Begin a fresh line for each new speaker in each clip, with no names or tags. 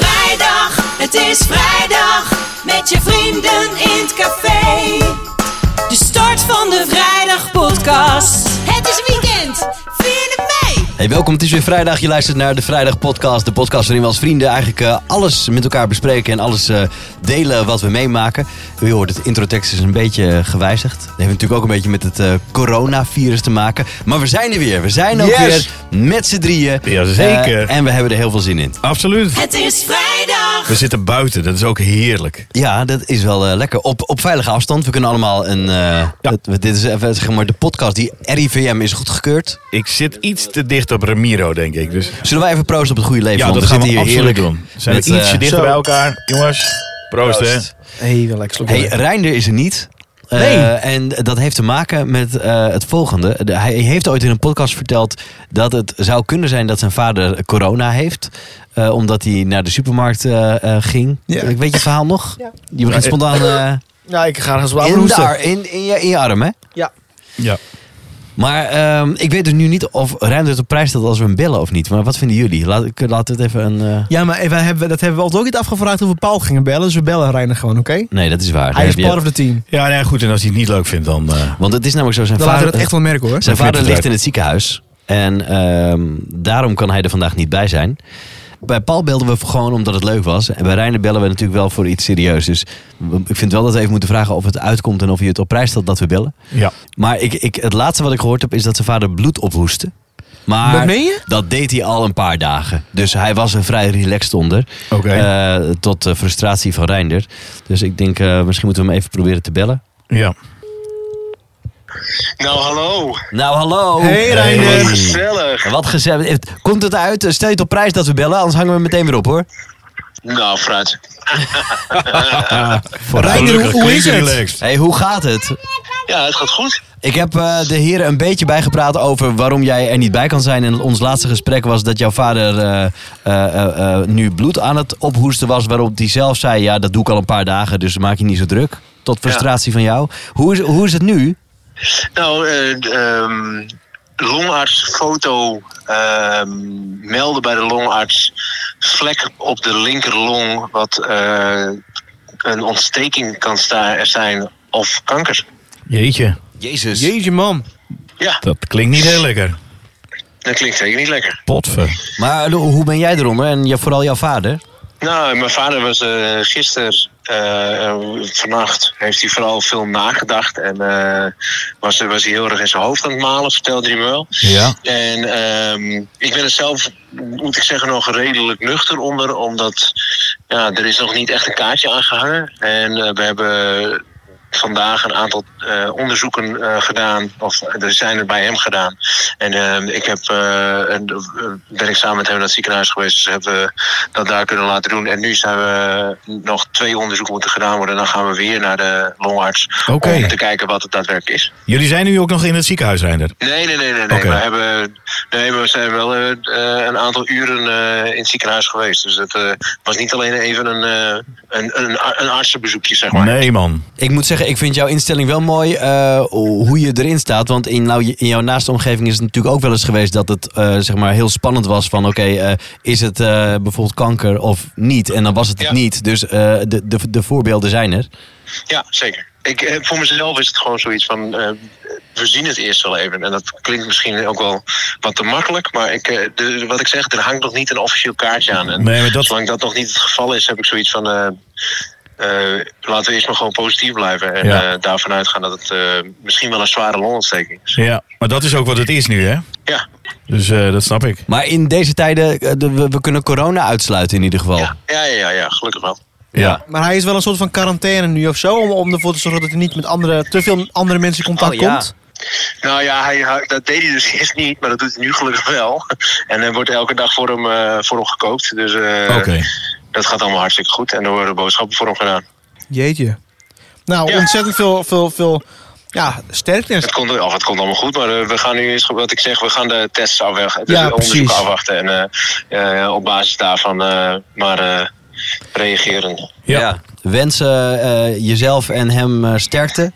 vrijdag, het is vrijdag. Met je vrienden in het café. De start van de vrijdag podcast. Het is weekend, 4 mei.
Hey, welkom, het is weer vrijdag. Je luistert naar de Vrijdag Podcast. De podcast waarin we als vrienden eigenlijk eh, alles met elkaar bespreken en alles eh, delen wat we meemaken. U hoort, het introtekst is een beetje eh, gewijzigd. Dat heeft natuurlijk ook een beetje met het eh, coronavirus te maken. Maar we zijn er weer. We zijn ook
Yes.
weer met z'n drieën.
Jazeker.
Eh, en we hebben er heel veel zin in.
Absoluut.
Het is vrijdag.
We zitten buiten, dat is ook heerlijk.
Ja, dat is wel eh, lekker. Op, op veilige afstand. We kunnen allemaal een... eh, het- dit is even, zeg maar, de podcast die RIVM is goedgekeurd.
Ik zit iets te dicht op Ramiro, denk ik. Dus
Zullen wij even proosten op het goede leven?
ja,
want
dat gaan we
zitten hier
absoluut heerlijk.
heerlijk
doen. Zijn we
met,
ietsje
eh,
dichter bij elkaar. Jongens, proost,
proost.
Hey, wel lekker
Hey, Reinder is er niet. Eh,
Nee.
en dat heeft te maken met eh, het volgende. De- hij heeft ooit in een podcast verteld dat het zou kunnen zijn dat zijn vader corona heeft. eh, omdat hij naar de supermarkt eh, eh, ging.
Ja.
Ik Weet je het verhaal nog?
Ja.
Je begint
Ja,
spontaan eh,
Ja, ik ga eens wat
in, de
roesten.
ar- in, in, je, in je arm, hè?
Ja.
hè? Ja.
Maar ehm, ik weet dus nu niet of Reinder het op prijs stelt als we hem bellen of niet. Maar wat vinden jullie? Laat, ik- laat het even een... eh,
ja, maar wij hebben, dat hebben we ons ook niet afgevraagd of we Paul gingen bellen. Dus we bellen Reiner gewoon, oké?
Nee, dat is waar.
Hij is
Nee, heb
part
je-
of the team.
Ja, nee, goed. En als hij het niet leuk vindt, dan... eh,
Want het is namelijk zo, zijn
Dan laten
vader...
we dat echt wel merken, hoor.
Zijn
Dat
vader ligt
klinkt bedreigend.
in het ziekenhuis. En ehm, daarom kan hij er vandaag niet bij zijn. Bij Paul belden we gewoon omdat het leuk was. En bij Reiner bellen we natuurlijk wel voor iets serieus. Dus we- ik vind wel dat we even moeten vragen of het uitkomt en of je het op prijs stelt dat we bellen.
ja.
Maar ik, ik, het laatste wat ik gehoord heb is dat zijn vader bloed ophoestte. Maar
Wat meen je?
dat deed hij al een paar dagen. Dus hij was er vrij relaxed onder.
Oké.
Eh, tot de frustratie van Reinder. Dus ik denk, eh, misschien moeten we hem even proberen te bellen.
ja.
Nou, hallo.
Nou, hallo.
Hey, Reiner.
Hey.
Gezellig.
Wat gezellig. Komt het uit? Stel je het op prijs dat we bellen, anders hangen we meteen weer op hoor.
Nou, Fred.
Reiner, hoe,
Gelukkig,
hoe is
klinkt
het?
relaxed.
hey, hoe gaat het?
Ja, het gaat goed.
Ik heb eh, de heren een beetje bijgepraat over waarom jij er niet bij kan zijn. En ons laatste gesprek was dat jouw vader eh, eh, eh, eh, nu bloed aan het ophoesten was. Waarop hij zelf zei, ja dat doe ik al een paar dagen, dus maak je niet zo druk. Tot frustratie van jou. Hoe is, hoe is het nu?
Nou, eh d- ehm, longarts foto ehm, melden bij de longarts vlek op de linkerlong wat eh, een ontsteking kan sta- er zijn of kanker.
Jeetje,
Jezus.
Jeetje, man.
Ja,
dat klinkt niet heel lekker.
dat klinkt zeker niet lekker.
Potver.
Maar eh, hoe ben jij eronder? En ja, vooral jouw vader?
Nou, mijn vader was eh gisteren, eh, eh, vannacht, heeft hij vooral veel nagedacht. En eh, was, was hij heel erg in zijn hoofd aan het malen, vertelde hij me wel.
Ja.
En ehm, ik ben er zelf, moet ik zeggen, nog redelijk nuchter onder. Omdat ja, er is nog niet echt een kaartje aangehangen. En eh, we hebben vandaag een aantal eh, onderzoeken eh, gedaan. Of er zijn er bij hem gedaan. En ehm, ik heb, eh, en, eh, ben ik samen met hem naar het ziekenhuis geweest. Dus hebben we dat daar kunnen laten doen. En nu zijn we nog twee onderzoeken moeten gedaan worden. En dan gaan we weer naar de longarts.
Oké.
Om te kijken wat het daadwerkelijk is.
Jullie zijn nu ook nog in het ziekenhuis, Reinder.
Nee, nee, nee, nee. nee.
Oké.
We, hebben, nee we zijn wel eh, eh, een aantal uren eh, in het ziekenhuis geweest. Dus het eh, was niet alleen even een, eh, een, een, a- een artsenbezoekje, zeg maar.
Nee, man.
Ik moet zeggen, ik vind jouw instelling wel mooi eh, hoe je erin staat. Want in, nou, in jouw naaste omgeving is het natuurlijk ook wel eens geweest dat het eh, zeg maar heel spannend was van oké, eh, is het eh, bijvoorbeeld kanker of niet? En dan was het het
Ja.
niet. Dus eh, de, de, de voorbeelden zijn er.
Ja, zeker. Ik, eh, voor mezelf is het gewoon zoiets van, eh, we zien het eerst wel even. En dat klinkt misschien ook wel wat te makkelijk. Maar ik, eh, de- wat ik zeg, er hangt nog niet een officieel kaartje aan. En
Nee, maar dat-
Zolang dat nog niet het geval is, heb ik zoiets van... eh, eh, laten we eerst maar gewoon positief blijven en
Ja.
eh, daarvan uitgaan dat het eh, misschien wel een zware longontsteking is.
Ja, maar dat is ook wat het is nu, hè?
Ja,
Dus eh, dat snap ik.
Maar in deze tijden, eh, de- we, we kunnen corona uitsluiten in ieder geval.
ja, ja, ja, ja, ja, gelukkig wel.
Ja.
Maar hij is wel een soort van quarantaine nu of zo. Om, om ervoor te zorgen dat hij niet met andere, te veel andere mensen in contact
Oh, ja.
komt.
Nou ja, hij, hij- dat deed hij dus eerst niet, maar dat doet hij nu gelukkig wel. En er wordt elke dag voor hem, eh, voor hem gekookt. Dus eh,
Oké.
dat gaat allemaal hartstikke goed. En er worden boodschappen voor hem gedaan.
Jeetje. Nou,
Ja.
ontzettend veel, veel, veel ja,
Het
sterktes.
komt, of het komt allemaal goed, maar eh, we gaan nu eens, wat ik zeg, we gaan de tests afwachten. Dus
Ja,
de onderzoeken
precies.
afwachten en eh, eh, op basis daarvan eh, maar eh, reageren.
Ja.
Wensen eh, jezelf en hem eh, sterkte.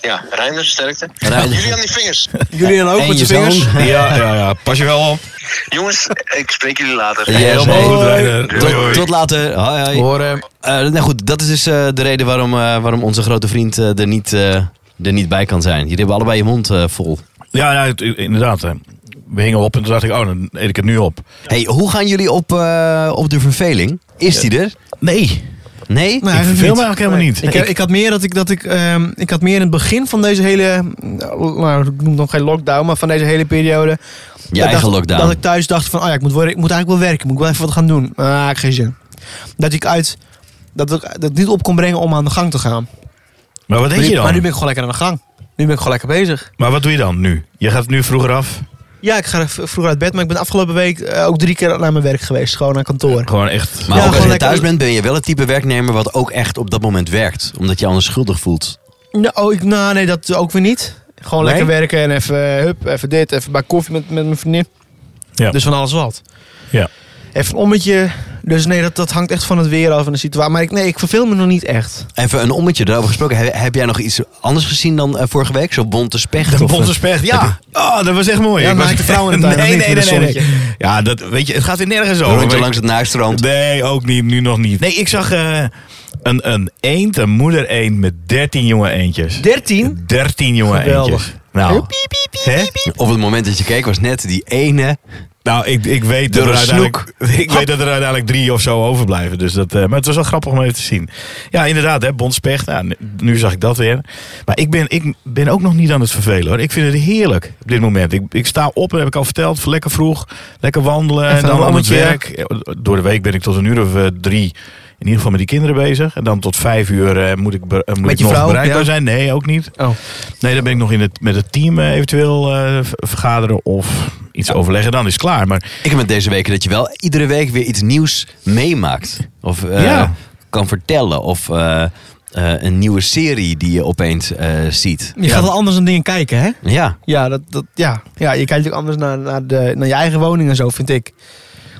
Ja, Reiner, sterkte.
Reiner.
Jullie aan die vingers.
Jullie dan ook
En
met
je
je vingers?
zoon.
Ja, ja, ja. Pas je wel op.
Jongens, ik spreek jullie later.
Yes,
Helemaal
hey.
goed, Reiner. Doei,
Tot,
doei.
tot later. Hoi, hoi.
Horen.
Eh, nou goed, dat is dus eh, de reden waarom, eh, waarom onze grote vriend eh, er, niet, eh, er niet bij kan zijn. Jullie hebben allebei je mond eh, vol.
Ja, ja, het- inderdaad. hè. We hingen op en toen dacht ik, oh, dan eet ik het nu op.
Hey, hoe gaan jullie op, eh, op de verveling? Is die er?
Nee.
Nee?
Nee,
Ik
eigenlijk
verveel
niet.
me eigenlijk helemaal niet.
Ik, ik had meer dat ik dat ik, ehm, ik had meer in het begin van deze hele, eh, nou ik noem het nog geen lockdown, maar van deze hele periode.
Je
dat
eigen
dacht-
lockdown.
Dat ik thuis dacht van, oh ja, ik moet, worden, ik moet eigenlijk wel werken, moet ik wel even wat gaan doen. Ah, ik heb geen zin. Dat ik uit, dat ik dat niet op kon brengen om aan de gang te gaan.
Maar wat
Maar
deed
nu,
je
maar nu ben
dan?
ik gewoon lekker aan de gang. Nu ben ik gewoon lekker bezig.
Maar wat doe je dan nu? Je gaat nu vroeger af.
Ja, ik ga v- vroeger uit bed, maar ik ben afgelopen week eh, ook drie keer naar mijn werk geweest, gewoon naar kantoor.
Gewoon
maar
echt.
Ja,
ook als je
gewoon lekker-
thuis bent, ben je wel het type werknemer wat ook echt op dat moment werkt. Omdat je je anders schuldig voelt.
Nou, oh, ik, nou, nee, dat ook weer niet. Gewoon
Nee?
lekker werken en even, eh, hup, even dit, even bij koffie met, met mijn vriendin.
Ja.
Dus van alles wat.
Ja.
Even een ommetje. Dus nee, dat, dat hangt echt van het weer af en de situatie. Maar ik, nee, ik verveel me nog niet echt.
Even een ommetje daarover gesproken. Heb, heb jij nog iets anders gezien dan eh, vorige week? Zo bonte specht?
De
of, eh,
bonte specht, ja. Oh, dat was echt mooi.
Ja,
Ik was
naakte vrouwen in de tuin,
Nee,
dat
nee, nee,
niks
nee,
met
nee. Ja, dat, weet je, het gaat weer nergens
een
over.
rondje langs het naarstroom.
Nee, ook niet. Nu nog niet. Nee, ik zag eh, een, een eend, een moeder eend met 13 jonge eendjes.
13?
13 jonge
Geweldig.
eentjes. Nou, hè?
Op het moment dat je keek was net die ene.
nou ik, ik, weet dat
Door
er
een
uiteindelijk- ik weet dat er uiteindelijk drie of zo overblijven. Dus dat, eh, maar het was wel grappig om even te zien. Ja, inderdaad, hè, bondspecht. Nou, nu- nu zag ik dat weer. Maar ik ben, ik ben ook nog niet aan het vervelen hoor. Ik vind het heerlijk op dit moment. Ik, ik sta op, dat heb ik al verteld, lekker vroeg. Lekker wandelen en
Even
dan
een
aan het
wandeltje.
werk. Ja, Door de week ben ik tot een uur of eh, drie in ieder geval met die kinderen bezig. En dan tot vijf uur eh, moet ik, be- eh, moet
Met
ik
je
nog
vrouw,
bereikbaar
ja.
zijn. Nee, ook niet.
Oh.
Nee, dan ben ik nog in het, met het team eh, eventueel eh, v- vergaderen of iets overleggen. Dan is het klaar. Maar
Ik heb het deze weken dat je wel iedere week weer iets nieuws meemaakt. Of eh,
Ja.
kan vertellen. Of eh, eh, een nieuwe serie die je opeens eh, ziet.
Je gaat wel anders aan dingen kijken, hè?
Ja.
Ja, dat, dat, ja. ja je kijkt ook anders naar, naar, de, naar je eigen woning en zo, vind ik.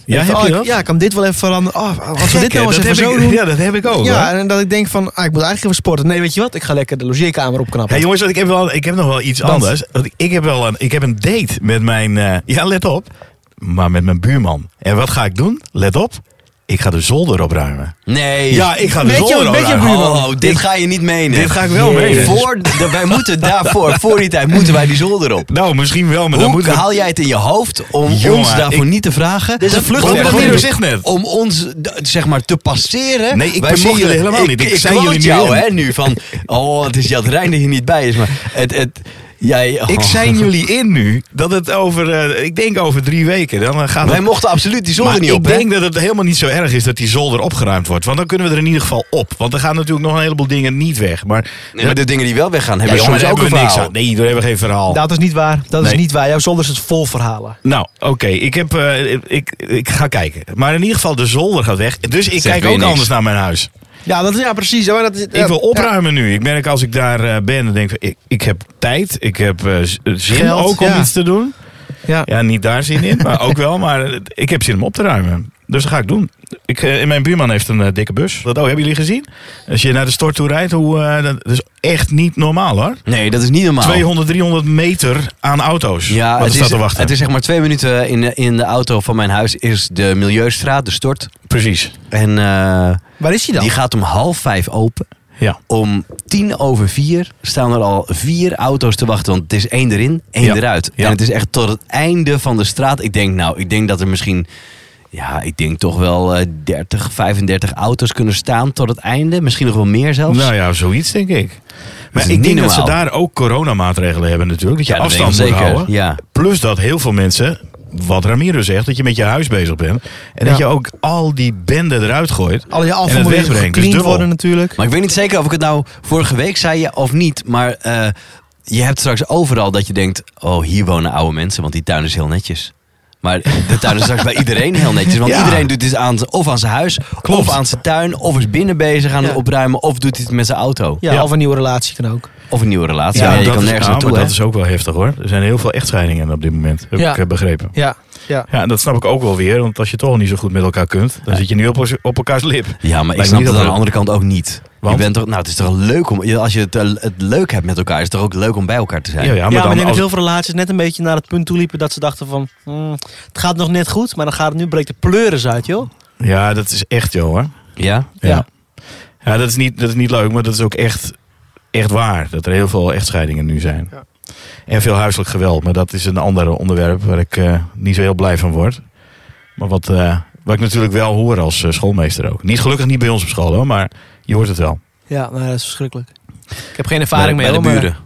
ja,
Van,
heb
oh,
je
ik-
dat?
Ja, ik kan dit wel even veranderen. Oh, als we
Gek,
dit
hè?
nou eens
dat
even
heb
zo
ik,
doen.
Ja, dat heb ik ook. hoor.
ja, en dat ik denk van, ah, ik moet eigenlijk even sporten. Nee, weet je wat? Ik ga lekker de logeerkamer opknappen.
Hey jongens, want ik heb, wel, ik heb nog wel iets anders. Want ik- ik heb wel een, ik heb een date met mijn. eh, ja, let op. Maar met mijn buurman. En wat ga ik doen? Let op. Ik ga de zolder opruimen.
Nee.
Ja, ik ga de
Met je-
zolder
met je
opruimen.
buurman?
Oh, dit ga je niet menen.
Dit ga ik wel meenemen.
Voor, de- wij moeten daarvoor, voor die tijd, moeten wij die zolder op.
Nou, misschien wel, maar dan
Hoe
moeten we...
haal jij het in je hoofd om
Jongen,
ons daarvoor
ik-
niet te vragen?
is een vlucht-
Om-
Dat
om-
Guido zegt net.
Om ons d- zeg maar te passeren.
Nee, ik
Wij
mocht
zien
jullie helemaal niet. Ik
Ik,
zei
quote
jullie nu
jou
in.
hè, nu van, oh het is Jad Rijn dat je niet bij is. Maar het, het, jij, oh.
Ik zijn jullie in nu dat het over, eh, ik denk over drie weken, dan eh, gaat
Wij
het...
mochten absoluut die zolder
Maar
niet op.
ik
hè?
denk dat het helemaal niet zo erg is dat die zolder opgeruimd wordt. Want dan kunnen we er in ieder geval op. Want er gaan natuurlijk nog een heleboel dingen niet weg. Maar,
Nee, maar de dingen die wel weggaan
Ja,
hebben
jongen,
soms
daar
ook een
hebben we niks
verhaal.
aan. Nee, daar hebben we geen verhaal.
Dat is niet waar. Dat
Oh. Nee.
is niet waar. Jouw zolder is het vol verhalen.
Nou, oké. Ik, heb, eh, ik, ik ga kijken. Maar in ieder geval, de zolder gaat weg. Dus ik
Zeg
kijk
weer
ook
niks.
anders naar mijn huis.
Ja, dat is, ja precies. hoor. dat is,
Ik wil opruimen nu. Ik merk als ik daar eh, ben, dan denk ik, ik, ik heb tijd. Ik heb eh, z- zin
Geld,
ook om
ja.
iets te doen.
Ja.
Ja, niet daar zin in, maar ook wel. Maar eh, ik heb zin om op te ruimen. Dus dat ga ik doen. Ik, eh, mijn buurman heeft een eh, dikke bus. Dat, oh, hebben jullie gezien? Als je naar de stort toe rijdt, hoe, eh, dat dat is echt niet normaal hoor.
Nee, dat is niet normaal.
200, 300 meter aan auto's.
Ja,
wat er
het
staat
is,
te wachten.
het is zeg maar twee minuten in, in de auto van mijn huis is de Milieustraat, de stort.
Precies.
En eh,
Waar is hij dan?
die gaat om half vijf open.
Ja.
Om tien over vier staan er al vier auto's te wachten. Want het is één erin, één
Ja.
eruit.
Ja.
En het is echt tot het einde van de straat. Ik denk nou, ik denk dat er misschien... Ja, ik denk toch wel eh, 30, 35 auto's kunnen staan tot het einde. Misschien nog wel meer zelfs.
Nou ja, zoiets denk ik.
is
Maar
niet
ik denk dat
normaal.
ze daar ook coronamaatregelen hebben natuurlijk. Dat je
Ja, dat
afstand moet
weet ik wel
houden.
zeker, ja.
Plus dat heel veel mensen, wat Ramiro zegt, dat je met je huis bezig bent. En dat je
Ja.
ook al die bende eruit gooit.
Al je
en
afval
het
moet
wegbrengt. Dus
gecleaned
dubbel.
worden natuurlijk.
Maar ik weet niet zeker of ik het nou vorige week zei je of niet. Maar eh, je hebt straks overal dat je denkt... oh, hier wonen oude mensen, want die tuin is heel netjes. Maar de tuin is straks bij iedereen heel netjes. Want
Ja.
iedereen doet dit aan, z- of aan zijn huis,
Klopt.
of aan zijn tuin... of is binnen bezig aan het
Ja.
opruimen, of doet hij het met zijn auto.
ja,
Ja.
of een nieuwe relatie kan ook.
Of een nieuwe relatie. Ja,
maar
je
dat
kan
is-
nergens
nou,
naartoe,
maar
hè?
dat is ook wel heftig hoor. Er zijn heel veel echtscheidingen op dit moment, heb
Ja.
ik eh, begrepen.
Ja. ja.
Ja, en dat snap ik ook wel weer. Want als je toch al niet zo goed met elkaar kunt, dan zit je nu op, op elkaars lip.
Ja, maar ik snap
Lijkt me
dat
niet
aan
dat
de andere kant ook niet.
Want?
Je bent toch, nou, het is toch leuk om, je- als je het, eh, het leuk hebt met elkaar, is het toch ook leuk om bij elkaar te zijn?
Ja, ja, maar
ja,
dan
maar ik denk dat
als-
heel veel relaties net een beetje naar het punt toe liepen dat ze dachten van... hmm, het gaat nog net goed, maar dan gaat het nu breekt de pleuris uit, joh.
ja, dat is echt, joh. Hoor.
Ja?
Ja. Ja, dat is, niet, dat is niet leuk, maar dat is ook echt, echt waar. Dat er heel veel echtscheidingen nu zijn. En veel huiselijk geweld. Maar dat is een ander onderwerp waar ik eh, niet zo heel blij van word. Maar wat, eh, wat ik natuurlijk wel hoor als eh, schoolmeester ook. Niet gelukkig niet bij ons op school hoor, maar je hoort het wel.
Ja, maar dat is verschrikkelijk. Ik heb geen ervaring
bij,
mee, eh.
de
hoor, maar-
buren,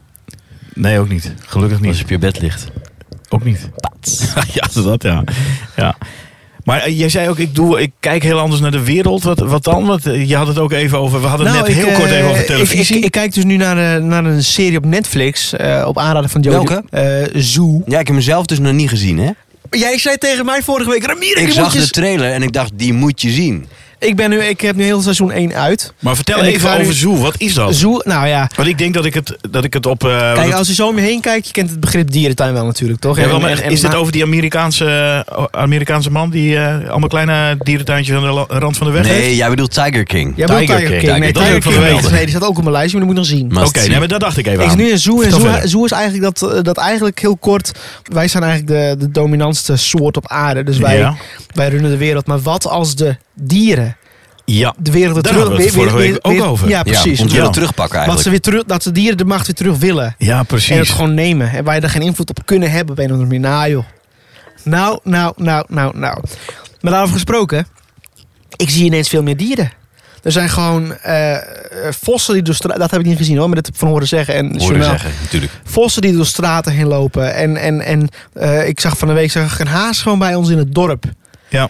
Nee, ook niet. Gelukkig
als
niet.
je op je bed ligt.
Ook niet. ja, dat ja. ja. Maar eh, jij zei ook, ik, doe, ik kijk heel anders naar de wereld. Wat, wat dan? Want eh, je had het ook even over, we hadden het net
Nou, ik,
heel kort
eh,
even over
ik-
televisie.
Ik, ik, kijk dus nu naar, eh, naar een serie op Netflix, eh, op aanraden van Jodie.
Welke?
Eh, Zoo.
Ja, ik heb mezelf dus nog niet gezien, hè?
Jij zei tegen mij vorige week, Ramiro,
Ik
je
zag
moet dus- je
de
eens-
trailer en ik dacht, die moet je zien.
ik, ben nu, ik heb nu heel seizoen 1 uit.
maar vertel
en ik
even
ga nu-
over Zoo, wat is dat?
Zoo, nou ja.
Want ik denk dat ik het, dat ik het op... eh,
Kijk,
dat-
als je zo om je heen kijkt, je kent het begrip dierentuin wel natuurlijk, toch?
ja, wel,
En-
maar
en-
is dit
en-
over die Amerikaanse, eh, Amerikaanse man die eh, allemaal kleine dierentuintjes aan de la- rand van de weg heeft?
Nee, jij bedoelt Tiger King.
Ja, maar
Tiger King.
Tiger King.
Tiger
Nee,
King.
Tiger
Dat
King.
wil ik
Nee,
wel weten.
nee, die staat ook op mijn lijstje, maar die moet ik nog zien.
Must
Oké,
see.
nee, maar daar dacht ik even
Ik
aan.
zit nu in Zoo en
Vertel
Zoo,
verder.
Zoo is eigenlijk dat, eh, dat eigenlijk heel kort... Wij zijn eigenlijk de, de dominantste soort op aarde. Dus wij,
Ja.
wij runnen de wereld. Maar wat als de dieren
Ja,
de wereld weer
Daar
terug...
hadden we het vorige week ook over.
Ja, precies.
Ja, om te
Ja.
willen terugpakken
dat, ze
eigenlijk.
weer terug, dat de dieren de macht weer terug willen.
ja
En het
precies.
gewoon nemen. En wij daar geen invloed op kunnen hebben op een of andere manier. Nou joh. Nou, nou, nou, nou, nou. Maar daarover gesproken. Ik zie ineens veel meer dieren. Er zijn gewoon eh, eh, vossen die door straten... Dat heb ik niet gezien hoor, maar dat heb ik van horen zeggen. En
Hoorde
journaal.
zeggen, natuurlijk.
Vossen die door straten heen lopen. En, en, en eh, ik zag van de week zag ik een haas gewoon bij ons in het dorp.
Ja.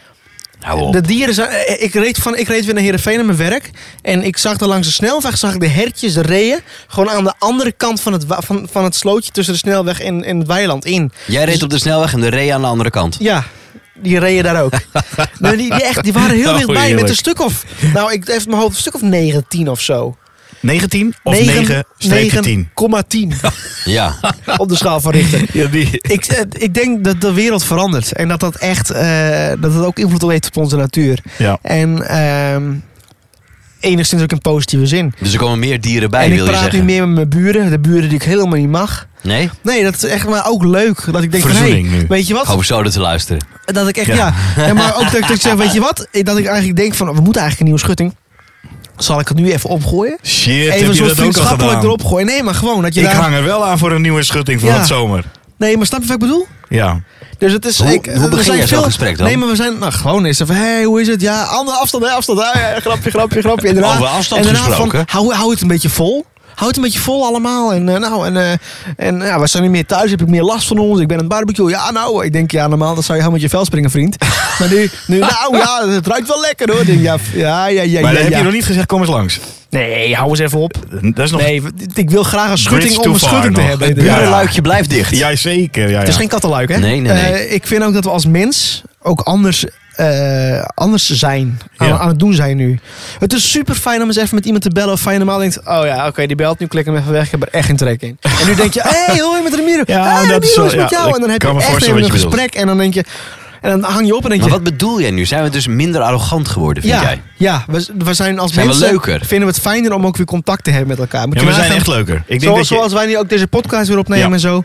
Hou op.
De dieren zijn... eh, Ik reed, van, ik reed weer naar Heerenveen aan mijn werk. En ik zag er langs de snelweg zag ik de hertjes, de reeën... gewoon aan de andere kant van het, wa- van, van het slootje tussen de snelweg en, en het weiland in.
Jij reed op de snelweg en de ree aan de andere kant.
Ja, die reeën daar ook. nou, die, die, echt, die waren heel
Oh,
dichtbij met
heerlijk.
een stuk of... Nou, ik heeft mijn hoofd een stuk of 19 of zo.
19 of 9,
Negen-
10.
9,10
Ja.
op de schaal van Richter.
Ja, die...
Ik, eh, ik denk dat de wereld verandert. En dat dat echt eh, dat dat ook invloed heeft op onze natuur.
Ja.
En ehm, enigszins ook in positieve zin.
Dus er komen meer dieren bij,
en ik
wil je
praat nu
zeggen.
meer met mijn buren. De buren die ik helemaal niet mag.
Nee?
Nee, dat is echt maar ook leuk. Dat ik denk van, hey,
Verzoening nu.
weet je wat?
Hou zo dat te luisteren.
Dat ik echt,
Ja.
ja. Ja, maar ook dat ik, dat ik zeg, weet je wat? Dat ik eigenlijk denk van, we moeten eigenlijk een nieuwe schutting. Zal ik het nu even opgooien?
Shit,
even
heb
een
je
soort
dat ook al
vriendschappelijk
gedaan?
erop gooien. Nee, maar gewoon. Dat je
Ik
daar...
hang er wel aan voor een nieuwe schutting van
Ja.
het zomer.
Nee, maar snap je wat ik bedoel?
Ja.
Dus het is.
Hoe-
ik,
hoe
we
begin
zijn
je zo'n gesprek dan?
Nee, maar we zijn. Nou, gewoon eens even. hey, hoe is het? Ja, andere afstand, hè, afstand. hè, ja, grapje, grapje, grapje. En daarna,
Over afstand
en daarna
gesproken.
Van, hou, hou het een beetje vol. Hou het een beetje vol allemaal. En eh, nou, en, eh, en ja, we zijn nu meer thuis. Heb ik meer last van ons? Ik ben aan het barbecue. Ja, nou, ik denk, ja, normaal dan zou je helemaal met je vel springen, vriend. Maar nu, nu nou ja, het ruikt wel lekker hoor. Ik Denk, ja, f- ja, ja, ja.
Maar
ja,
dat heb
ja.
je nog niet gezegd, kom eens langs.
Nee, hou eens even op.
Dat is nog...
Nee, w- ik wil graag een schutting
Bridge
om een
too far
schutting te
nog.
hebben.
Het
inderdaad.
buren-
Luikje blijft dicht.
Jazeker, ja, ja.
Het is geen kattenluik, hè?
Nee, nee, nee.
Eh, ik vind ook dat we als mens ook anders, eh, anders zijn. Aan,
Ja.
aan het doen zijn nu. Het is super fijn om eens even met iemand te bellen. Of fijn normaal denkt, oh ja, oké, die belt. Nu klik hem even weg. Ik heb er echt geen trek in. En nu denk je, hé, hey, hoi met Ramiro.
Ja,
hey,
dat is
Ramiro
wel-
is met
ja,
jou.
ik
En dan heb
kan
je
me
echt
voorstellen
even
wat
een
je bedoelt.
gesprek. En dan denk je, en dan hang je op en denk
Maar
je...
wat bedoel jij nu? Zijn we dus minder arrogant geworden, vind
ja,
jij?
ja we, we zijn als
Zijn we
mensen...
leuker?
Vinden we het fijner om ook weer contact te hebben met elkaar. Moet
Ja,
je
we zijn
nagaan-
echt leuker. Ik denk
Zoals,
dat je...
zoals wij nu ook deze podcast weer opnemen
Ja.
en zo.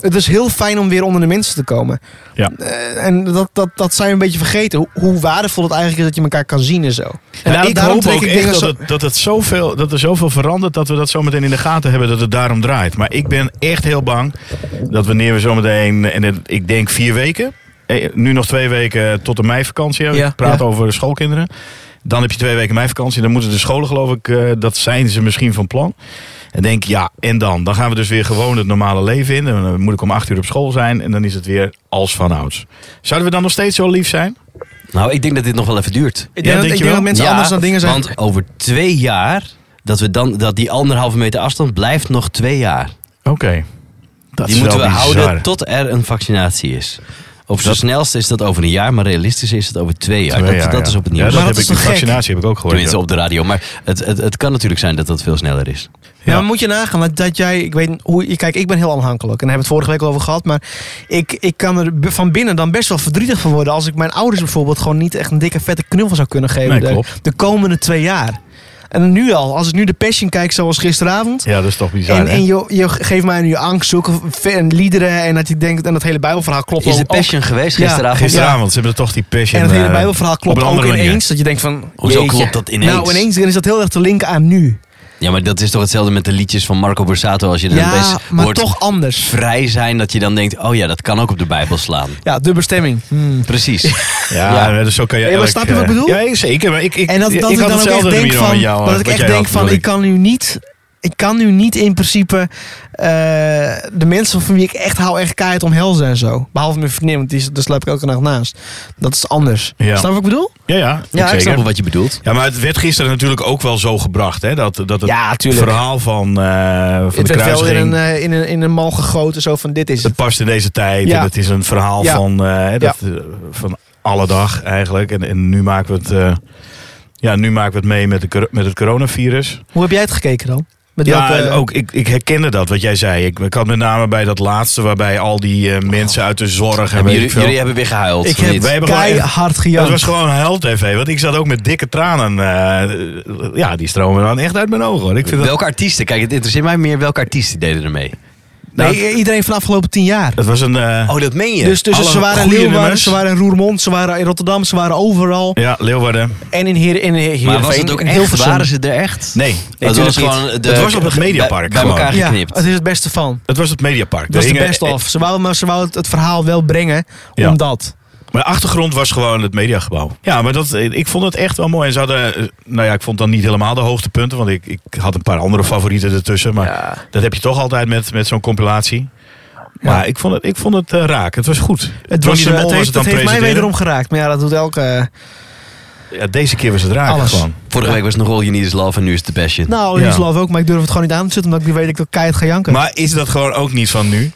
Het is heel fijn om weer onder de mensen te komen.
Ja.
Eh, en dat, dat, dat zijn we een beetje vergeten. Hoe, hoe waardevol het eigenlijk is dat je elkaar kan zien en zo. En
En nou,
daar-
ik
daarom
hoop
trek
ook
ik
echt
dingen
dat,
zo-
het, dat, het zoveel, dat er zoveel verandert dat we dat zometeen in de gaten hebben dat het daarom draait. Maar ik ben echt heel bang dat wanneer we zometeen, en het- ik denk vier weken, eh, nu nog twee weken tot de meivakantie,
Ja,
ik praat
ja.
over schoolkinderen. Dan heb je twee weken meivakantie, dan moeten de scholen geloof ik, eh, dat zijn ze misschien van plan. En denk, ja, en dan? Dan gaan we dus weer gewoon het normale leven in. En dan moet ik om acht uur op school zijn en dan is het weer als van ouds. Zouden we dan nog steeds zo lief zijn?
Nou, ik denk dat dit nog wel even duurt.
Ik
Ja,
denk, dat,
denk
ik
je
denk
wel?
dat mensen
Ja,
anders dan dingen zijn.
Want over twee jaar, dat, we dan, dat die anderhalve meter afstand blijft nog twee jaar.
Oké. Dat
die
is
moeten we
wel bizar.
houden tot er een vaccinatie is. Op zijn
Dat-
snelste is dat over een jaar, maar realistisch is het over twee jaar.
Twee
dat,
jaar,
dat
ja.
is op het
Ja,
nieuws.
dat
Maar
heb
dat
ik, die
is toch gek?
vaccinatie heb ik ook gehoord.
Tenminste op de radio. Maar het, het, het kan natuurlijk zijn dat dat veel sneller is.
Ja,
Ja.
maar moet je nagaan want dat jij, ik weet niet hoe, kijk, ik ben heel aanhankelijk en daar hebben we het vorige week al over gehad, maar ik, ik kan er b- van binnen dan best wel verdrietig van worden als ik mijn ouders bijvoorbeeld gewoon niet echt een dikke vette knuffel zou kunnen geven
Nee,
de,
klopt.
de komende twee jaar. En nu al, als ik nu de Passion kijk zoals gisteravond.
Ja, dat is toch bizar,
En,
hè?
en je, je geeft mij nu angst, zulke v- en liederen en dat je denkt, en dat hele Bijbelverhaal klopt
Is de
ook-
passion geweest
Ja,
gisteravond?
Gisteravond, ze hebben er toch die passion...
En het hele
eh,
Bijbelverhaal
op
klopt
een
ook
andere manier.
ineens. Dat je denkt van...
Hoezo
jeetje.
klopt dat ineens?
Nou, ineens dan is dat heel erg te linken aan nu.
Ja, maar dat is toch hetzelfde met de liedjes van Marco Borsato. Als je dan
Ja,
opeens
maar
hoort
toch anders.
vrij zijn, dat je dan denkt... oh ja, dat kan ook op de Bijbel slaan.
Ja, Hmm. dubbele stemming.
Precies.
Ja, dus zo kan je
Ja, maar
elk,
snap je wat ik
eh,
bedoel?
Ja, zeker. Maar ik, ik,
En dat, dat ik
had
dan ook echt
hetzelfde
denk
nummer
van...
met jou,
dat
eh,
ik
wat
echt
jij had,
denk van,
bedoel
ik kan nu niet... Ik kan nu niet in principe eh, de mensen van wie ik echt hou echt keihard omhelzen en zo. Behalve mijn vriendin, want die, daar slaap ik elke nacht naast. Dat is anders.
Ja.
Snap je wat ik bedoel?
Ja, ja.
Ja, ik
zeker.
snap wel wat je bedoelt.
Ja, maar het werd gisteren natuurlijk ook wel zo gebracht. Hè? Dat, dat het
Ja, tuurlijk.
verhaal van, eh, van
Het
de
werd wel in een,
kruising...
eh, in, een, in een mal gegoten, zo van dit is
Dat
het.
past in deze tijd.
Ja.
En het is een verhaal
Ja.
van, eh, dat, eh, van alle dag eigenlijk. En, en nu maken we het... eh, ja, nu maken we het mee met, de, cor- met het coronavirus.
Hoe heb jij het eh, gekeken dan? Met
Ja, eh,
welke-
en ook, ik, ik herkende dat wat jij zei. Ik, ik had met name bij dat laatste waarbij al die eh, mensen uit de zorg... En
Hebben
weet
jullie,
ik veel,
jullie hebben weer gehuild.
Ik
of
heb-
niet?
wij hebben gewoon echt-
keihard
Dat
gejankt.
was gewoon huil-tv. Want ik zat ook met dikke tranen. eh, ja, die stromen dan echt uit mijn ogen. Hoor. Ik vind dat,
Welke artiesten? Kijk, het interesseert mij meer welke artiesten deden ermee.
nou,
Nee, iedereen van de afgelopen tien jaar.
dat was een... eh,
Oh, dat meen je?
Dus, dus
alle
ze waren in
goede
Leeuwarden,
nummers.
ze waren in Roermond, ze waren in Rotterdam, ze waren overal.
ja, Leeuwarden.
En in Heer in Heer,
maar was het ook echt? Waren ze er echt?
Nee,
dat
tuurlijk
was gewoon
niet.
de,
Het was op het Mediapark
Bij, bij
gewoon.
elkaar
ja,
geknipt.
het is het beste van.
het was het Mediapark.
Dat is
Er
de
hingen- eh,
best of. Ze wou, maar ze wou het, het verhaal wel brengen,
Ja.
omdat.
Maar de achtergrond was gewoon het mediagebouw. Ja, maar dat, eh, ik vond het echt wel mooi. En ze hadden, eh, nou ja, ik vond dan niet helemaal de hoogtepunten. Want ik, ik had een paar andere favorieten ertussen. Maar dat heb je toch altijd met, met zo'n compilatie. Maar ik vond het, ik vond het eh, raak. Het was goed.
Het,
Johnny
was,
de
eh,
Mol
het
was
heeft,
het dan
het heeft mij
presenteren.
wederom geraakt. Maar ja, dat doet elke...
Ja, deze keer was het raak
Alles.
gewoon.
Vorige week was nog All You Need Is Love en nu is het The Passion.
nou,
Ja.
ja. love ook, maar ik durf het gewoon niet aan te zetten. Omdat ik nu weet dat ik ook keihard ga janken.
Maar is dat gewoon ook niet van nu?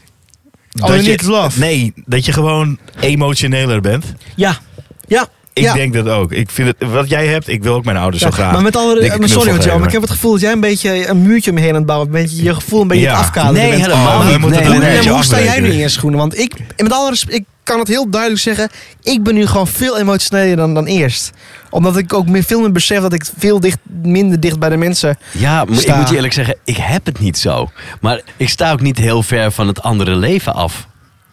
Oh,
Dat
en
je-
niet love.
Nee, dat je gewoon emotioneler bent.
Ja. Ja.
Ik
ja.
denk dat ook. Ik vind het, wat jij hebt, ik wil ook mijn ouders
Ja,
zo graag.
Maar met alle...
Dikke
maar sorry,
knuffel
hoor, Joe,
geven.
maar ik heb het gevoel dat jij een beetje een muurtje omheen aan het bouwen bent. Je je gevoel een beetje
Ja.
het afkaderen
Nee,
bent.
helemaal
Oh,
niet.
we moeten
Nee,
het
nee,
een
nee.
Ja,
beetje
maar hoe sta jij nu
afbreken.
in je schoenen? Want ik, en met alle respect, ik kan het heel duidelijk zeggen. Ik ben nu gewoon veel emotioneler dan, dan eerst. Omdat ik ook meer, veel meer besef dat ik veel dicht, minder dicht bij de mensen...
Ja, maar ik
Sta.
moet je eerlijk zeggen, ik heb het niet zo. Maar ik sta ook niet heel ver van het andere leven af.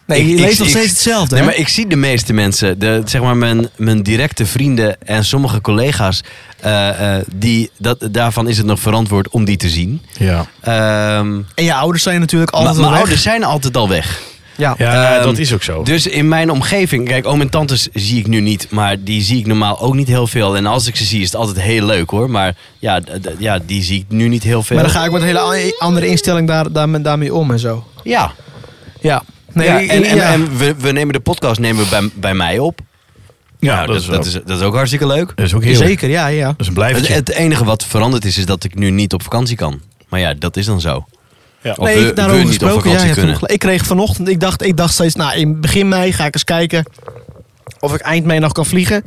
Nee,
Ik-
je
ik-
leeft nog
ik-
steeds hetzelfde,
Nee,
hè?
maar ik zie de meeste mensen, de, zeg maar mijn, mijn directe vrienden en sommige collega's, eh, eh, die, dat, daarvan is het nog verantwoord om die te zien.
Ja,
Ehm, maar-
En je ouders zijn natuurlijk altijd
mijn
al weg.
ouders zijn altijd al weg.
Ja.
ja
Ehm,
dat is ook zo.
Dus in mijn omgeving, kijk, oom en tantes zie ik nu niet, maar die zie ik normaal ook niet heel veel. En als ik ze zie, is het altijd heel leuk hoor. Maar ja, d- d- ja die zie ik nu niet heel veel.
Maar dan ga ik met een hele a- andere instelling daar, daar, daarmee om en zo.
Ja.
Ja. Nee,
ja, en en,
ja.
en we, we nemen de podcast nemen we bij, bij mij op.
ja,
Nou,
dat, is wel-
dat, is, dat is ook hartstikke leuk. Dus
dat is ook heerlijk.
Zeker, ja, ja.
Dat is een
Het,
blijvertje.
het enige wat veranderd is, is dat ik nu niet op vakantie kan. Maar ja, dat is dan zo.
Ja.
Of we,
daarover
we niet op
gesproken, ja,
vakantie
je hebt
kunnen.
hem gelijk. Ik kreeg vanochtend, ik dacht, ik dacht steeds, nou in begin mei ga ik eens kijken of ik eind mei nog kan vliegen.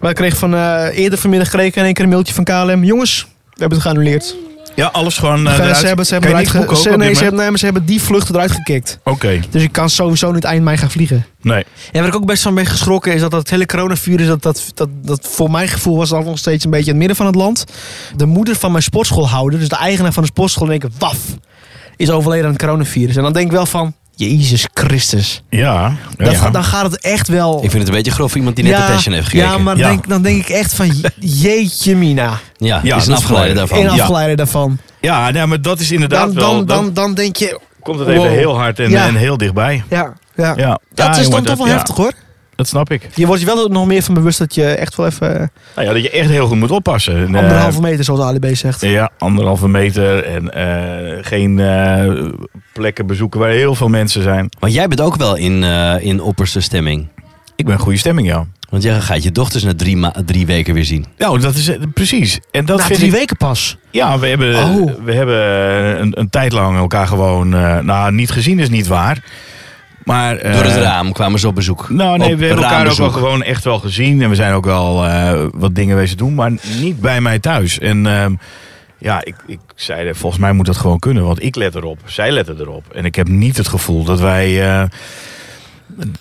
Maar ik kreeg van eh, eerder vanmiddag kreeg ik in één keer een mailtje van KLM. Jongens, we hebben het geannuleerd.
ja, alles gewoon eh
Ze-
Nou, eruit.
ze hebben, ze hebben,
Kan je
eruit
niks
ge-
boeken ook
ze-
op dit
nee, ze
moment?
hebben, nee, maar ze hebben die vluchten eruit gekikt.
Oké.
Dus ik kan sowieso niet eind mei gaan vliegen.
Nee.
Ja, waar ik ook best van ben geschrokken is dat dat hele coronavirus, dat, dat, dat, dat voor mijn gevoel was dat nog steeds een beetje in het midden van het land. De moeder van mijn sportschoolhouder, dus de eigenaar van de sportschool, denk ik, waf, is overleden aan het coronavirus. En dan denk ik wel van, jezus Christus.
Ja.
Dat,
ja.
gaat- Dan gaat het echt wel...
Ik vind het een beetje grof voor iemand die net de passion heeft gekeken.
ja, maar
Ja.
Denk, dan denk ik echt van, je- jeetje mina.
Ja,
Ja,
is een
dat
afgeleide
is
daarvan.
Een
ja.
afleider daarvan.
ja, nee, maar dat is inderdaad
Dan, dan,
wel... Dan,
dan, dan denk je,
komt het even
Wow.
heel hard en,
Ja.
en heel dichtbij.
ja, ja.
Ja.
Dat
Ja,
is
jongen,
dan toch wel
ja,
heftig hoor.
Dat snap ik.
Je wordt je wel nog meer van bewust dat je echt wel even
Nou ja, dat je echt heel goed moet oppassen. En, eh,
anderhalve meter, zoals de ADB zegt.
Ja, anderhalve meter en eh, geen eh, plekken bezoeken waar heel veel mensen zijn.
Maar jij bent ook wel in, eh, in opperste stemming.
Ik ben goede stemming, ja.
Want jij gaat je dochters na drie, ma- drie weken weer zien.
Nou, dat is eh, precies. En dat
Na
vind
drie
ik.
weken pas.
Ja, Nou, we hebben,
Oh.
we hebben eh, een, een tijd lang elkaar gewoon. eh, nou, niet gezien is niet waar. Maar. eh,
Door het raam kwamen ze op bezoek.
Nou, nee,
Op
we hebben elkaar ook wel
raambezoek.
gewoon echt wel gezien. En we zijn ook wel eh, wat dingen wezen doen, maar niet bij mij thuis. En ehm, ja, ik, ik zei, eh, volgens mij moet dat gewoon kunnen. Want ik let erop, zij letten erop. En ik heb niet het gevoel dat wij... eh,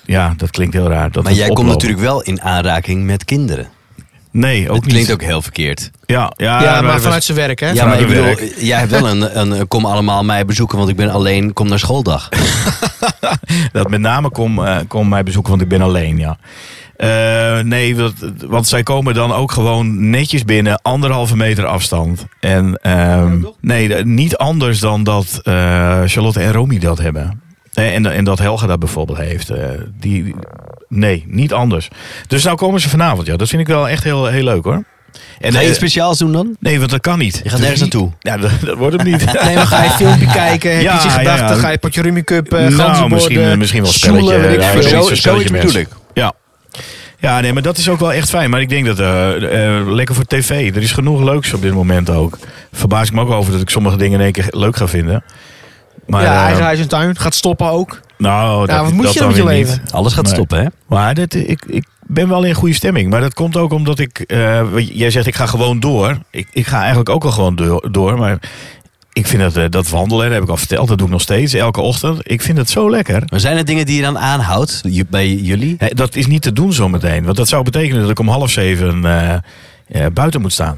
ja, dat klinkt heel raar. Dat
Maar
het
jij komt
oplopen.
natuurlijk wel in aanraking met kinderen.
Nee, ook
het
niet.
klinkt ook heel verkeerd.
Ja, ja,
ja,
wij-
maar
wij-
vanuit zijn werk, hè?
Ja, maar ik
Vanuit het
bedoel, jij hebt wel een, een eh, kom allemaal mij bezoeken, want ik ben alleen, kom naar schooldag.
Dat met name kom, eh, kom mij bezoeken, want ik ben alleen, ja. Eh, nee, dat, want zij komen dan ook gewoon netjes binnen, anderhalve meter afstand. En ehm, nee, d- niet anders dan dat eh, Charlotte en Romy dat hebben. Eh, En, en dat Helga dat bijvoorbeeld heeft. Eh, die, die- nee, niet anders. Dus nou komen ze vanavond, ja. Dat vind ik wel echt heel, heel leuk, hoor. En,
Ga je
eh,
iets speciaals doen dan?
nee, want dat kan niet.
Je gaat nergens
Dus die-
naartoe.
Ja, dat, dat wordt hem niet.
Nee, maar ga je filmpje kijken, heb je
Ja,
iets in
ja,
gedachten,
ja.
ga je potje Rummy Cup, eh,
nou,
ganzenborden,
misschien, misschien wel een
stoelen,
spelletje. eh,
weet ik
ja,
veel.
Zo-
zoiets-
zoiets
mensen.
bedoel ik.
Ja. Ja, nee, maar dat is ook wel echt fijn. Maar ik denk dat, eh, eh, lekker voor tv, er is genoeg leuks op dit moment ook. Verbaas ik me ook over dat ik sommige dingen in één keer leuk ga vinden. Maar,
ja,
eh,
eigen huis en tuin. Gaat stoppen ook.
nou, dat,
Ja, wat moet
dat
je
dan
met je
weer niet.
leven?
Alles gaat
Nee.
stoppen, hè?
Maar dat, eh, ik, ik ben wel in goede stemming. Maar dat komt ook omdat ik... eh, wat jij zegt, ik ga gewoon door. Ik, ik ga eigenlijk ook wel gewoon door. door maar ik vind dat, eh, dat wandelen, dat heb ik al verteld. Dat doe ik nog steeds, elke ochtend. Ik vind het zo lekker.
Maar zijn er dingen die je dan aanhoudt j- bij jullie?
Hè, dat is niet te doen zometeen. Want dat zou betekenen dat ik om half zeven eh, eh, buiten moet staan.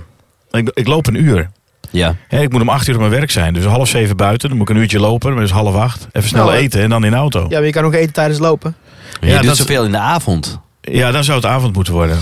Ik, ik loop een uur.
Ja.
Hè, ik moet om acht uur op mijn werk zijn. Dus half zeven buiten. Dan moet ik een uurtje lopen. Dan is het half acht. Even snel
Nou, hè.
eten en dan in de auto.
Ja, maar je kan ook eten tijdens lopen.
Je doet
dat-
zoveel in de avond.
Ja, dan zou het avond moeten worden.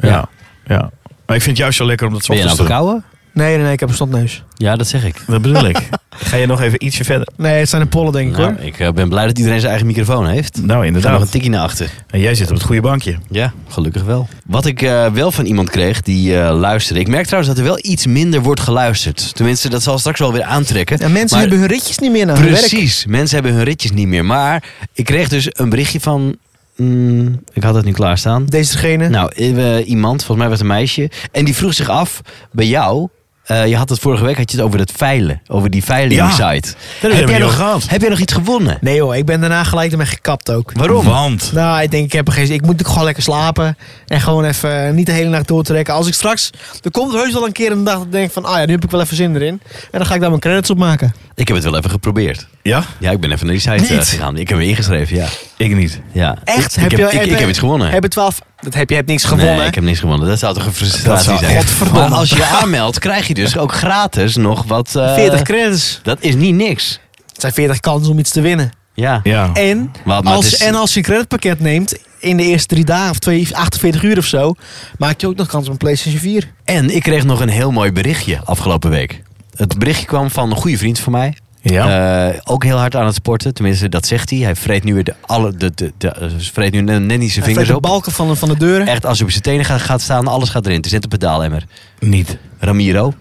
Ja.
Ja.
ja. Maar ik vind het juist zo lekker om dat
Ben je
ochtends eh.
nou
te doen.
verkouden?
Nee, nee, nee, ik heb een stondneus.
Ja, dat zeg ik.
Dat bedoel ik. Ga je nog even ietsje verder?
Nee, het zijn de pollen, denk ik
Nou,
hoor.
ik eh, ben blij dat iedereen zijn eigen microfoon heeft. Ik
Nou,
ga nog een
inderdaad.
tikkie naar achter.
En jij zit op het goede bankje.
Ja, gelukkig wel. Wat ik eh, wel van iemand kreeg die eh, luisterde. Ik merk trouwens dat er wel iets minder wordt geluisterd. Tenminste, dat zal straks wel weer aantrekken.
En mensen
Maar-
hebben hun ritjes niet meer naar hun werk.
Precies, mensen hebben hun ritjes niet meer. Maar ik kreeg dus een berichtje van. mm, ik had het nu klaarstaan.
Dezegene.
Nou, eh, iemand, volgens mij was het een meisje. En die vroeg zich af bij jou. eh, je had het vorige week had je het over het veilen. Over die veilingssite. site.
hebben we
heb, jij
niet
nog,
over gehad.
heb jij nog iets gewonnen?
Nee joh, ik ben daarna gelijk ermee gekapt ook.
Waarom? Want.
Nou, ik denk, ik, heb er geen, ik moet ook gewoon lekker slapen. En gewoon even niet de hele nacht doortrekken. Als ik straks, er komt heus wel een keer een dag dat ik denk van, ah ja, nu heb ik wel even zin erin. En dan ga ik daar mijn credits op maken.
Ik heb het wel even geprobeerd.
Ja?
Ja, ik ben even naar die site eh,
Niet?
gegaan. Ik heb me ingeschreven, ja.
Ik niet.
ja.
Echt?
Ik,
Heb
heb,
je-
ik,
heb
ik
je-
heb iets gewonnen.
Hebben 12, dat heb je hebt niks gewonnen.
Nee, ik heb niks gewonnen. Dat zou toch een frustratie
zou-
zijn.
Godverdomme.
Maar als je je aanmeldt, krijg je dus ook gratis nog wat... eh,
40 credits.
Dat is niet niks.
Het zijn 40 kansen om iets te winnen.
Ja.
Ja.
En,
Wat, Oh. maar
als,
het is-
en als je een creditpakket neemt in de eerste drie dagen of twee, 48 uur of zo, maak je ook nog kans op een PlayStation 4.
En ik kreeg nog een heel mooi berichtje afgelopen week. Het berichtje kwam van een goede vriend van mij.
Ja.
Eh, ook heel hard aan het sporten. Tenminste, dat zegt hij. Hij vreet nu, weer de alle, de, de, de, eh, vreet nu net niet zijn
Hij vreet
vingers
de
op.
balken van de, van de deuren.
Echt, als hij op zijn tenen gaat, gaat staan, alles gaat erin. Het is net een pedaalemmer.
niet.
Ramiro.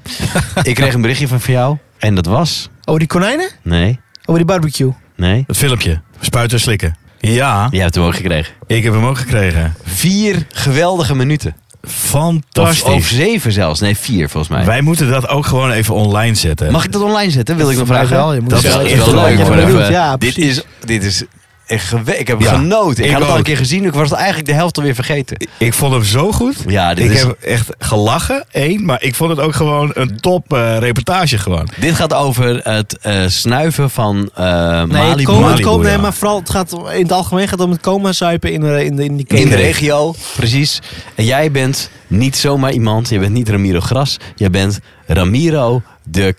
ik kreeg een berichtje van, van jou. En dat was...
Over die konijnen?
Nee,
Over die barbecue?
nee.
Het filmpje. Spuiten slikken. Ja,
Jij hebt hem ook gekregen.
ik heb hem ook gekregen.
Vier geweldige minuten.
Fantastisch.
Of, of zeven zelfs. Nee, vier volgens mij.
Wij moeten dat ook gewoon even online zetten.
Mag ik dat online zetten? Wil ik nog
Voor mij
vragen?
wel, je moet
dat is
wel
wel,
even
wel
weten
leuk.
wat je
hoor,
bedoelt.
even.
Ja,
dit
precies.
is, dit is echt gewe- Ik heb
Ja,
genoten. Ik,
ik
had het al een
ook.
keer gezien. Ik was het eigenlijk de helft alweer vergeten.
Ik vond hem zo goed.
Ja, dit,
ik
is,
heb echt gelachen, één. Maar ik vond het ook gewoon een top eh, reportage gewoon.
dit gaat over het eh, snuiven van eh
Nee, het
Malibu.
komen, het
Malibu,
komen, nee,
ja.
maar vooral het gaat, om- in het algemeen gaat het om het coma zuipen in, de- in, de- in die
In de
keten.
regio, precies. En jij bent niet zomaar iemand. Je bent niet Ramiro Gras. Je bent Ramiro de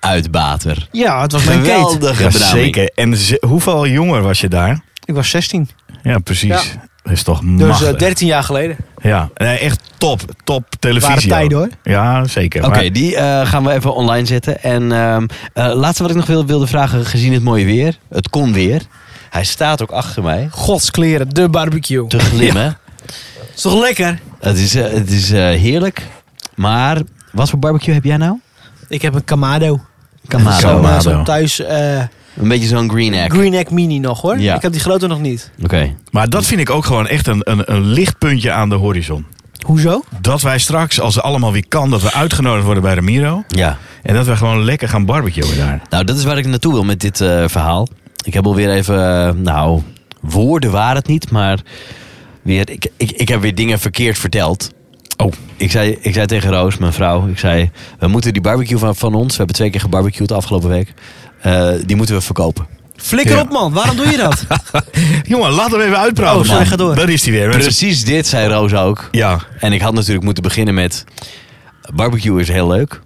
keetuitbater.
Ja, het was mijn keet.
Geweldige benaming.
zeker. En ze- hoeveel jonger was je daar?
Ik was 16.
Ja, precies.
Ja.
Dat is toch
Dus
machtig.
eh, 13 jaar geleden.
ja, nee, echt top. Top televisie.
Waren tijden,
ook.
hoor.
Ja, zeker.
Oké,
Maar-
die eh, gaan we even online zetten. En ehm, eh, laatste wat ik nog wil, wilde vragen, gezien het mooie weer. Het kon weer. Hij staat ook achter mij
Godskleren, de barbecue.
te glimmen.
Is toch lekker?
Het is, eh, het is eh, heerlijk. Maar wat voor barbecue heb jij nou?
Ik heb een Kamado.
Kamado.
Zo'n, eh,
Kamado.
zo'n thuis eh,
Een beetje zo'n green egg.
Green Egg Mini nog hoor.
Ja.
Ik heb die grote nog niet.
Oké.
Maar dat vind ik ook gewoon echt een, een, een lichtpuntje aan de horizon.
Hoezo?
Dat wij straks, als het allemaal weer kan, dat we uitgenodigd worden bij Ramiro.
Ja.
En dat we gewoon lekker gaan barbecuen daar.
Nou, dat is waar ik naartoe wil met dit eh, verhaal. Ik heb alweer even, eh, nou, woorden waren het niet, maar weer, ik, ik, ik heb weer dingen verkeerd verteld.
Oh.
Ik zei, ik zei tegen Roos, mijn vrouw, ik zei, we moeten die barbecue van, van ons, we hebben twee keer gebarbecued de afgelopen week, eh, die moeten we verkopen.
Flikker
Ja.
op, man. Waarom doe je dat?
Jongen, laat hem even uitpraten,
Oh, sorry,
man.
ga door.
Daar is hij weer. mensen.
Precies dit zei Roos ook.
Ja,
En ik had natuurlijk moeten beginnen met... Barbecue is heel leuk,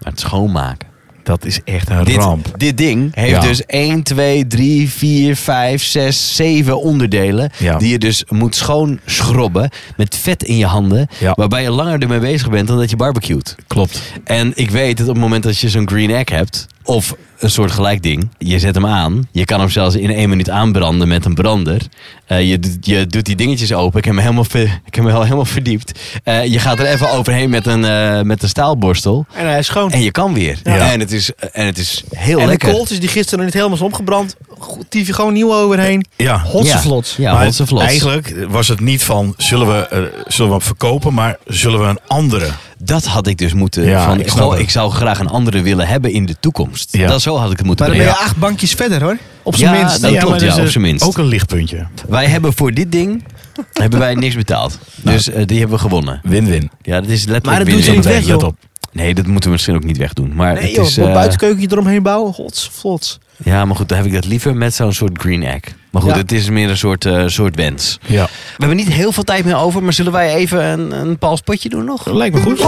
maar het schoonmaken.
dat is echt een
Dit,
ramp.
dit ding heeft
Ja.
dus 1, 2, 3, 4, 5, 6, 7 onderdelen.
Ja.
Die je dus moet schoon schrobben met vet in je handen.
Ja.
Waarbij je langer ermee bezig bent dan dat je barbecuet.
Klopt.
En ik weet dat op het moment dat je zo'n green egg hebt, of een soort gelijk ding, je zet hem aan. Je kan hem zelfs in één minuut aanbranden met een brander. Eh, je, doet- je doet die dingetjes open. Ik heb me helemaal, ver- ik heb me wel helemaal verdiept. Eh, je gaat er even overheen met een, eh, met een staalborstel.
En hij is schoon.
En je kan weer.
Ja.
En, het is, en het is heel
en de
lekker.
kooltjes die gisteren nog niet helemaal is opgebrand, go- tief je gewoon nieuw overheen.
Ja.
Hotse
Ja.
vlots.
Ja,
Maar
hotse vlots.
Eigenlijk was het niet van zullen we, eh, zullen we hem verkopen, maar zullen we een andere.
Dat had ik dus moeten.
Ja,
van,
ik
ik,
snap het.
ik zou graag een andere willen hebben in de toekomst.
Ja.
Dat, zo had ik het moeten
Maar dan ben
brengen.
je acht bankjes verder hoor. Op zijn
Ja,
minst. dus,
dat
maar
klopt,
dat
ja,
is
op
eh,
een-
zijn minst.
Ook een lichtpuntje.
Wij hebben voor dit ding hebben wij niks betaald. Dus eh, die hebben we gewonnen.
Win-win.
Ja, dat is letterlijk
Nou. Maar dat doen
win-win.
ze niet weg,
Let
joh.
op.
Nee, dat moeten we misschien ook niet wegdoen. Maar
Nee
het
joh,
is,
een
eh,
buitenkeukentje eromheen bouwen. Hotse vlots.
Ja, maar goed, dan heb ik dat liever met zo'n soort green egg. Maar goed,
Ja.
het is meer een soort, eh, soort wens.
Ja.
We hebben niet heel veel tijd meer over, maar zullen wij even een, een palspotje doen nog?
Lijkt me goed.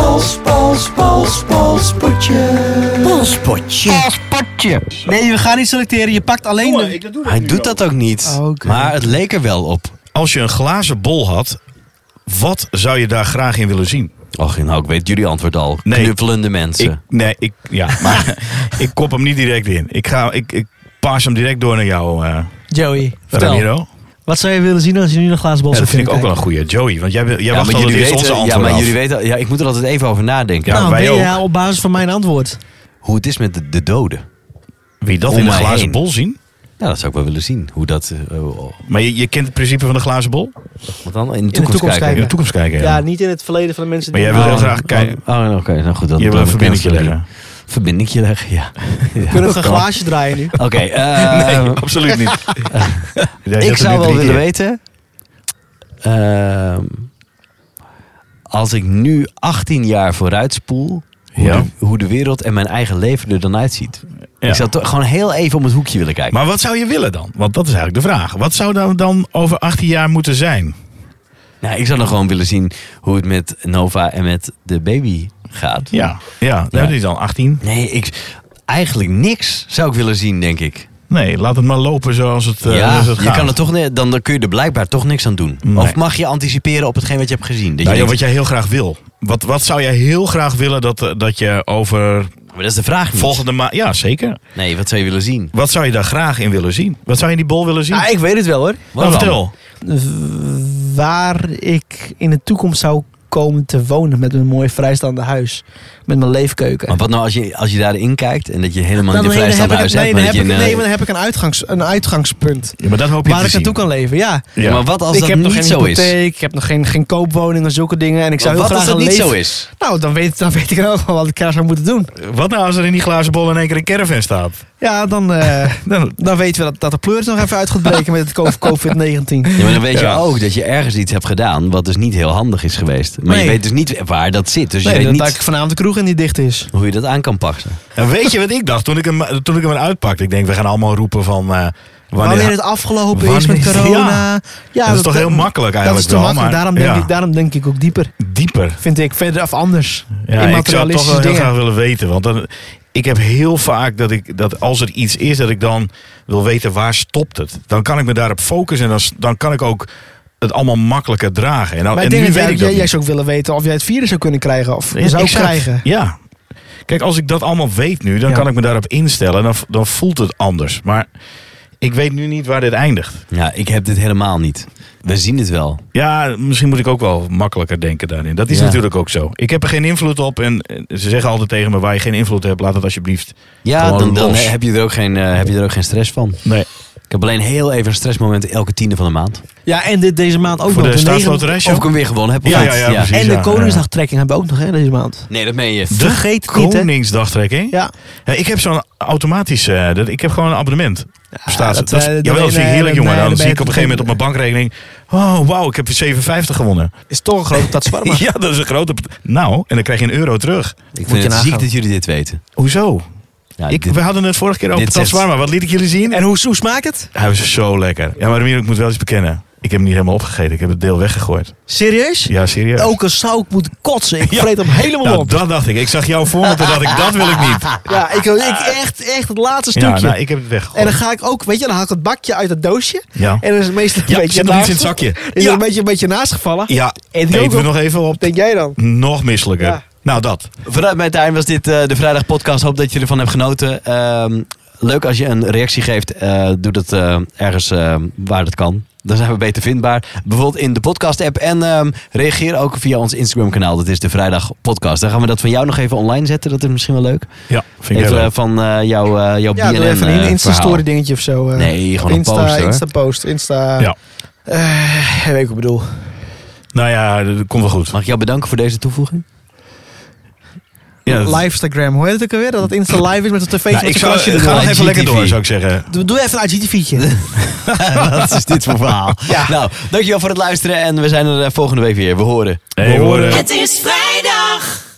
Nee, we gaan niet selecteren. Je pakt alleen de...
Hij doet dat ook niet,
Oh, oké.
maar het leek er wel op.
Als je een glazen bol had, wat zou je daar graag in willen zien?
Och, nou, ik weet jullie antwoord al.
Nee.
Knuffelende mensen.
Ik, nee, ik, ja, maar ik kop hem niet direct in. Ik, ga, ik, ik paas hem direct door naar jou, eh
Joey, vertel.
Ramiro.
Wat zou je willen zien als je nu een glazen bol
Ja,
zou
dat vind ik
kunnen
ook wel een
kijken?
goede. Joey, want jij, wil- jij
Ja,
wacht
maar
al
jullie
eerst onze
weten, ja,
antwoorden
maar
af.
jullie weten, ja, ik moet er altijd even over nadenken.
Ja,
Nou,
wij
ben je
ook.
ja, op basis van mijn antwoord.
Hoe het is met de, de doden.
Wie dat
Om
in een
mij
glazen
heen.
bol zien?
Ja, dat zou ik wel willen zien. Hoe dat, eh, oh,
Maar je, je kent het principe van de glazen bol?
wat dan? In de toekomst,
toekomst
kijken.
In de
Ja.
toekomst kijken, ja.
Ja, niet in het verleden van de mensen
Maar
die...
jij wil heel
Oh,
graag kijken.
Oh, oh, oké, nou goed. Dan,
Je wil
dan
een verbindingje
cancel ik.
leggen.
Verbindingje leggen, ja. Ja,
Kunnen we een
dat kan.
glaasje draaien nu?
Oké, eh,
Nee, absoluut niet.
ik
Jij zegt het nu
zou wel
drie
willen
keer.
weten... ehm, als ik nu 18 jaar vooruit spoel... Hoe,
Ja.
de, hoe de wereld en mijn eigen leven er dan uitziet.
Ja.
Ik zou toch gewoon heel even om het hoekje willen kijken.
Maar wat zou je willen dan? Want dat is eigenlijk de vraag. Wat zou dan, dan over 18 jaar moeten zijn?
Nou, ik zou dan gewoon willen zien hoe het met Nova en met de baby gaat.
Ja, ja,
Ja.
ja. die is dan 18.
Nee, ik, eigenlijk niks zou ik willen zien, denk ik.
Nee, laat het maar lopen zoals het, eh,
ja,
zoals het
je
gaat.
kan er toch, ne- dan, dan kun je er blijkbaar toch niks aan doen.
Nee.
Of mag je anticiperen op hetgeen wat je hebt gezien? Dat je
Nou, joh,
denkt,
wat jij heel graag wil. Wat, wat zou jij heel graag willen dat, eh, dat je over
maar dat is de vraag niet.
volgende maand... Ja, zeker.
Nee, wat zou je willen zien?
Wat zou je daar graag in willen zien? Wat zou je in die bol willen zien?
Nou, ik weet het wel hoor.
Wat
Nou,
dan?
vertel.
W- waar ik in de toekomst zou komen te wonen met mijn mooi vrijstaande huis. Met mijn leefkeuken.
Maar wat nou als je, als je daarin kijkt en dat je helemaal
Dan-
niet
nee,
een
dan heb
vrijstaand
ik-
huis
nee,
hebt?
dan
maar
heb ik-
dat je eh,
Nee,
een,
maar dan heb ik een, uitgangs, een uitgangspunt.
Ja, maar dat hoop je
Waar
te
ik
zien.
naartoe kan leven, ja.
Ja.
Maar wat als
ik
dat
heb nog
niet
geen
zo is?
hypotheek, ik heb nog geen, geen koopwoning en zulke dingen. En ik zou
Maar
heel
wat
graag
als dat
een
niet
leef-
zo is?
Nou, dan weet, dan weet ik ook wel wat ik daar zou moeten doen.
Wat nou als er in die glazen bol in één keer een caravan staat?
Ja, dan, eh, dan, dan weten we dat, dat de pleur nog even uit gaat breken met het co- COVID-19.
Ja, maar dan weet
Ja.
je ook dat je ergens iets hebt gedaan wat dus niet heel handig is geweest. Maar je
Nee.
weet dus niet waar dat zit. Dus
Nee,
je
dan
weet
dat ik
niet
vanavond de kroeg in die dicht is.
hoe je dat aan kan pakken.
En weet je wat ik dacht toen ik hem, toen ik hem eruit pakte? Ik denk, we gaan allemaal roepen van... eh,
Wanneer, het afgelopen is
wanneer-
met corona.
Ja. dat, is toch heel makkelijk
Dat is
eigenlijk
te
wel,
makkelijk.
maar-
Daarom denk,
ja.
ik, daarom denk ik ook dieper.
dieper.
Vind ik verder of anders.
Ja, ik zou het toch wel
Immaterialistische
heel
dingen.
graag willen weten. Want dan, ik heb heel vaak dat, ik, dat als er iets is, dat ik dan wil weten waar stopt het. Dan kan ik me daarop focussen en dan, s- dan kan ik ook het allemaal makkelijker dragen. En, dan,
Maar
en
ik
nu weet
denk dat jij,
ik dat
jij, jij
niet.
zou ook willen weten of jij het virus zou kunnen krijgen. Of
Ja,
zou
exact.
krijgen.
Ja. Kijk, als ik dat allemaal weet nu, dan
Ja.
kan ik me daarop instellen. en Dan, v- dan voelt het anders. Maar ik weet nu niet waar dit eindigt.
Ja, ik heb dit helemaal niet. We zien het wel.
Ja, misschien moet ik ook wel makkelijker denken daarin. Dat is
Ja.
natuurlijk ook zo. Ik heb er geen invloed op. En eh, ze zeggen altijd tegen me, waar je geen invloed hebt, laat het alsjeblieft.
Ja,
Gewoon
dan, dan
los.
heb, je er ook geen, eh, heb je er ook geen stress van.
Nee.
Ik heb alleen heel even een stressmoment elke tiende van de maand.
Ja, en dit, deze maand ook
Voor
nog.
de
negen-
staatsloterij
Of ik hem weer gewonnen heb. of
Ja,
niet.
ja, ja, precies.
en de
ja,
Koningsdagtrekking hebben we ook nog hè, deze maand.
Nee, dat meen je.
De
Vergeet het niet, hè?
Koningsdagtrekking?
Ja.
Ja, ik heb zo'n automatisch. eh, dat, ik heb gewoon een abonnement. Staat,
dat,
dat,
eh,
is,
dat
jawel,
ben
dat
je-
vind ik heerlijk,
nee,
jongen.
nee,
dan
dat
zie
ben
ik
je
op een gegeven moment op mijn bankrekening. Oh, wauw, ik heb weer 57 gewonnen.
Is toch een grote dat zwaar.
Ja, dat is een grote. p- Nou, en dan krijg je een euro terug.
Ik
Moet
vind
je
het ziek
nagaan.
dat jullie dit weten.
Hoezo?
Ja,
Ik,
dit-
we hadden het vorige keer over
dit zegt-
Transwarma. Wat liet ik jullie zien?
En hoe, hoe smaakt het?
Hij was zo lekker. Ja, maar Ramiro, ik moet wel eens bekennen. Ik heb hem niet helemaal opgegeten. Ik heb het deel weggegooid.
Serieus?
Ja, serieus.
Ook al zou ik moeten kotsen. Ik
Ja.
vreet hem helemaal
nou,
Oh, op.
dat dacht ik. Ik zag jou voor me, toen dacht ik, dat wil ik niet.
Ja, ik, ik echt, echt het laatste stukje.
Ah. Ja, nou, ik heb het
en
weggegooid.
dan ga ik ook, weet je, dan haal ik het bakje uit het doosje.
Ja.
En dan is het meestal een
Ja,
beetje
zit nog iets in
naast-
het zakje.
Is er
Ja.
een beetje, een beetje naast gevallen.
Ja,
Eet
eten
die ook
we
op?
nog even op.
Denk jij dan?
Nog misselijker.
Ja.
Nou, dat.
Vanuit mijn tuin was dit eh, de Vrijdag Podcast. Hoop dat je ervan hebt genoten. Ehm, leuk als je een reactie geeft. eh, doe dat eh, ergens eh, waar dat kan. Dan zijn we beter vindbaar. Bijvoorbeeld in de podcast-app. En ehm, reageer ook via ons Instagram-kanaal. Dat is de Vrijdag Podcast. Dan gaan we dat van jou nog even online zetten. Dat is misschien wel leuk.
Ja, vind
Even
ik heel
eh,
leuk.
van eh, jouw, eh jouw
Ja,
BNN
doe even een
eh,
Insta-story
verhaal.
dingetje of zo. eh.
Nee, gewoon een
Insta,
post, hoor.
Insta post. Insta...
Ja.
Eh, weet ik wat ik bedoel.
Nou ja, dat komt wel goed.
Mag ik jou bedanken voor deze toevoeging?
Ja, dat-
Livestagram. Hoe heet het ook alweer? Dat het Insta live is met een tv'tje.
Nou,
met
ik
zo'n
zou,
krasje
ga
erdoor.
nog
IGTV.
even lekker door, zou ik zeggen.
Doe, doe even een IGTV'tje.
Wat is dit voor verhaal?
Ja.
Nou, dankjewel voor het luisteren. En we zijn er eh, volgende week weer. We horen.
Hey, horen.
Het is vrijdag.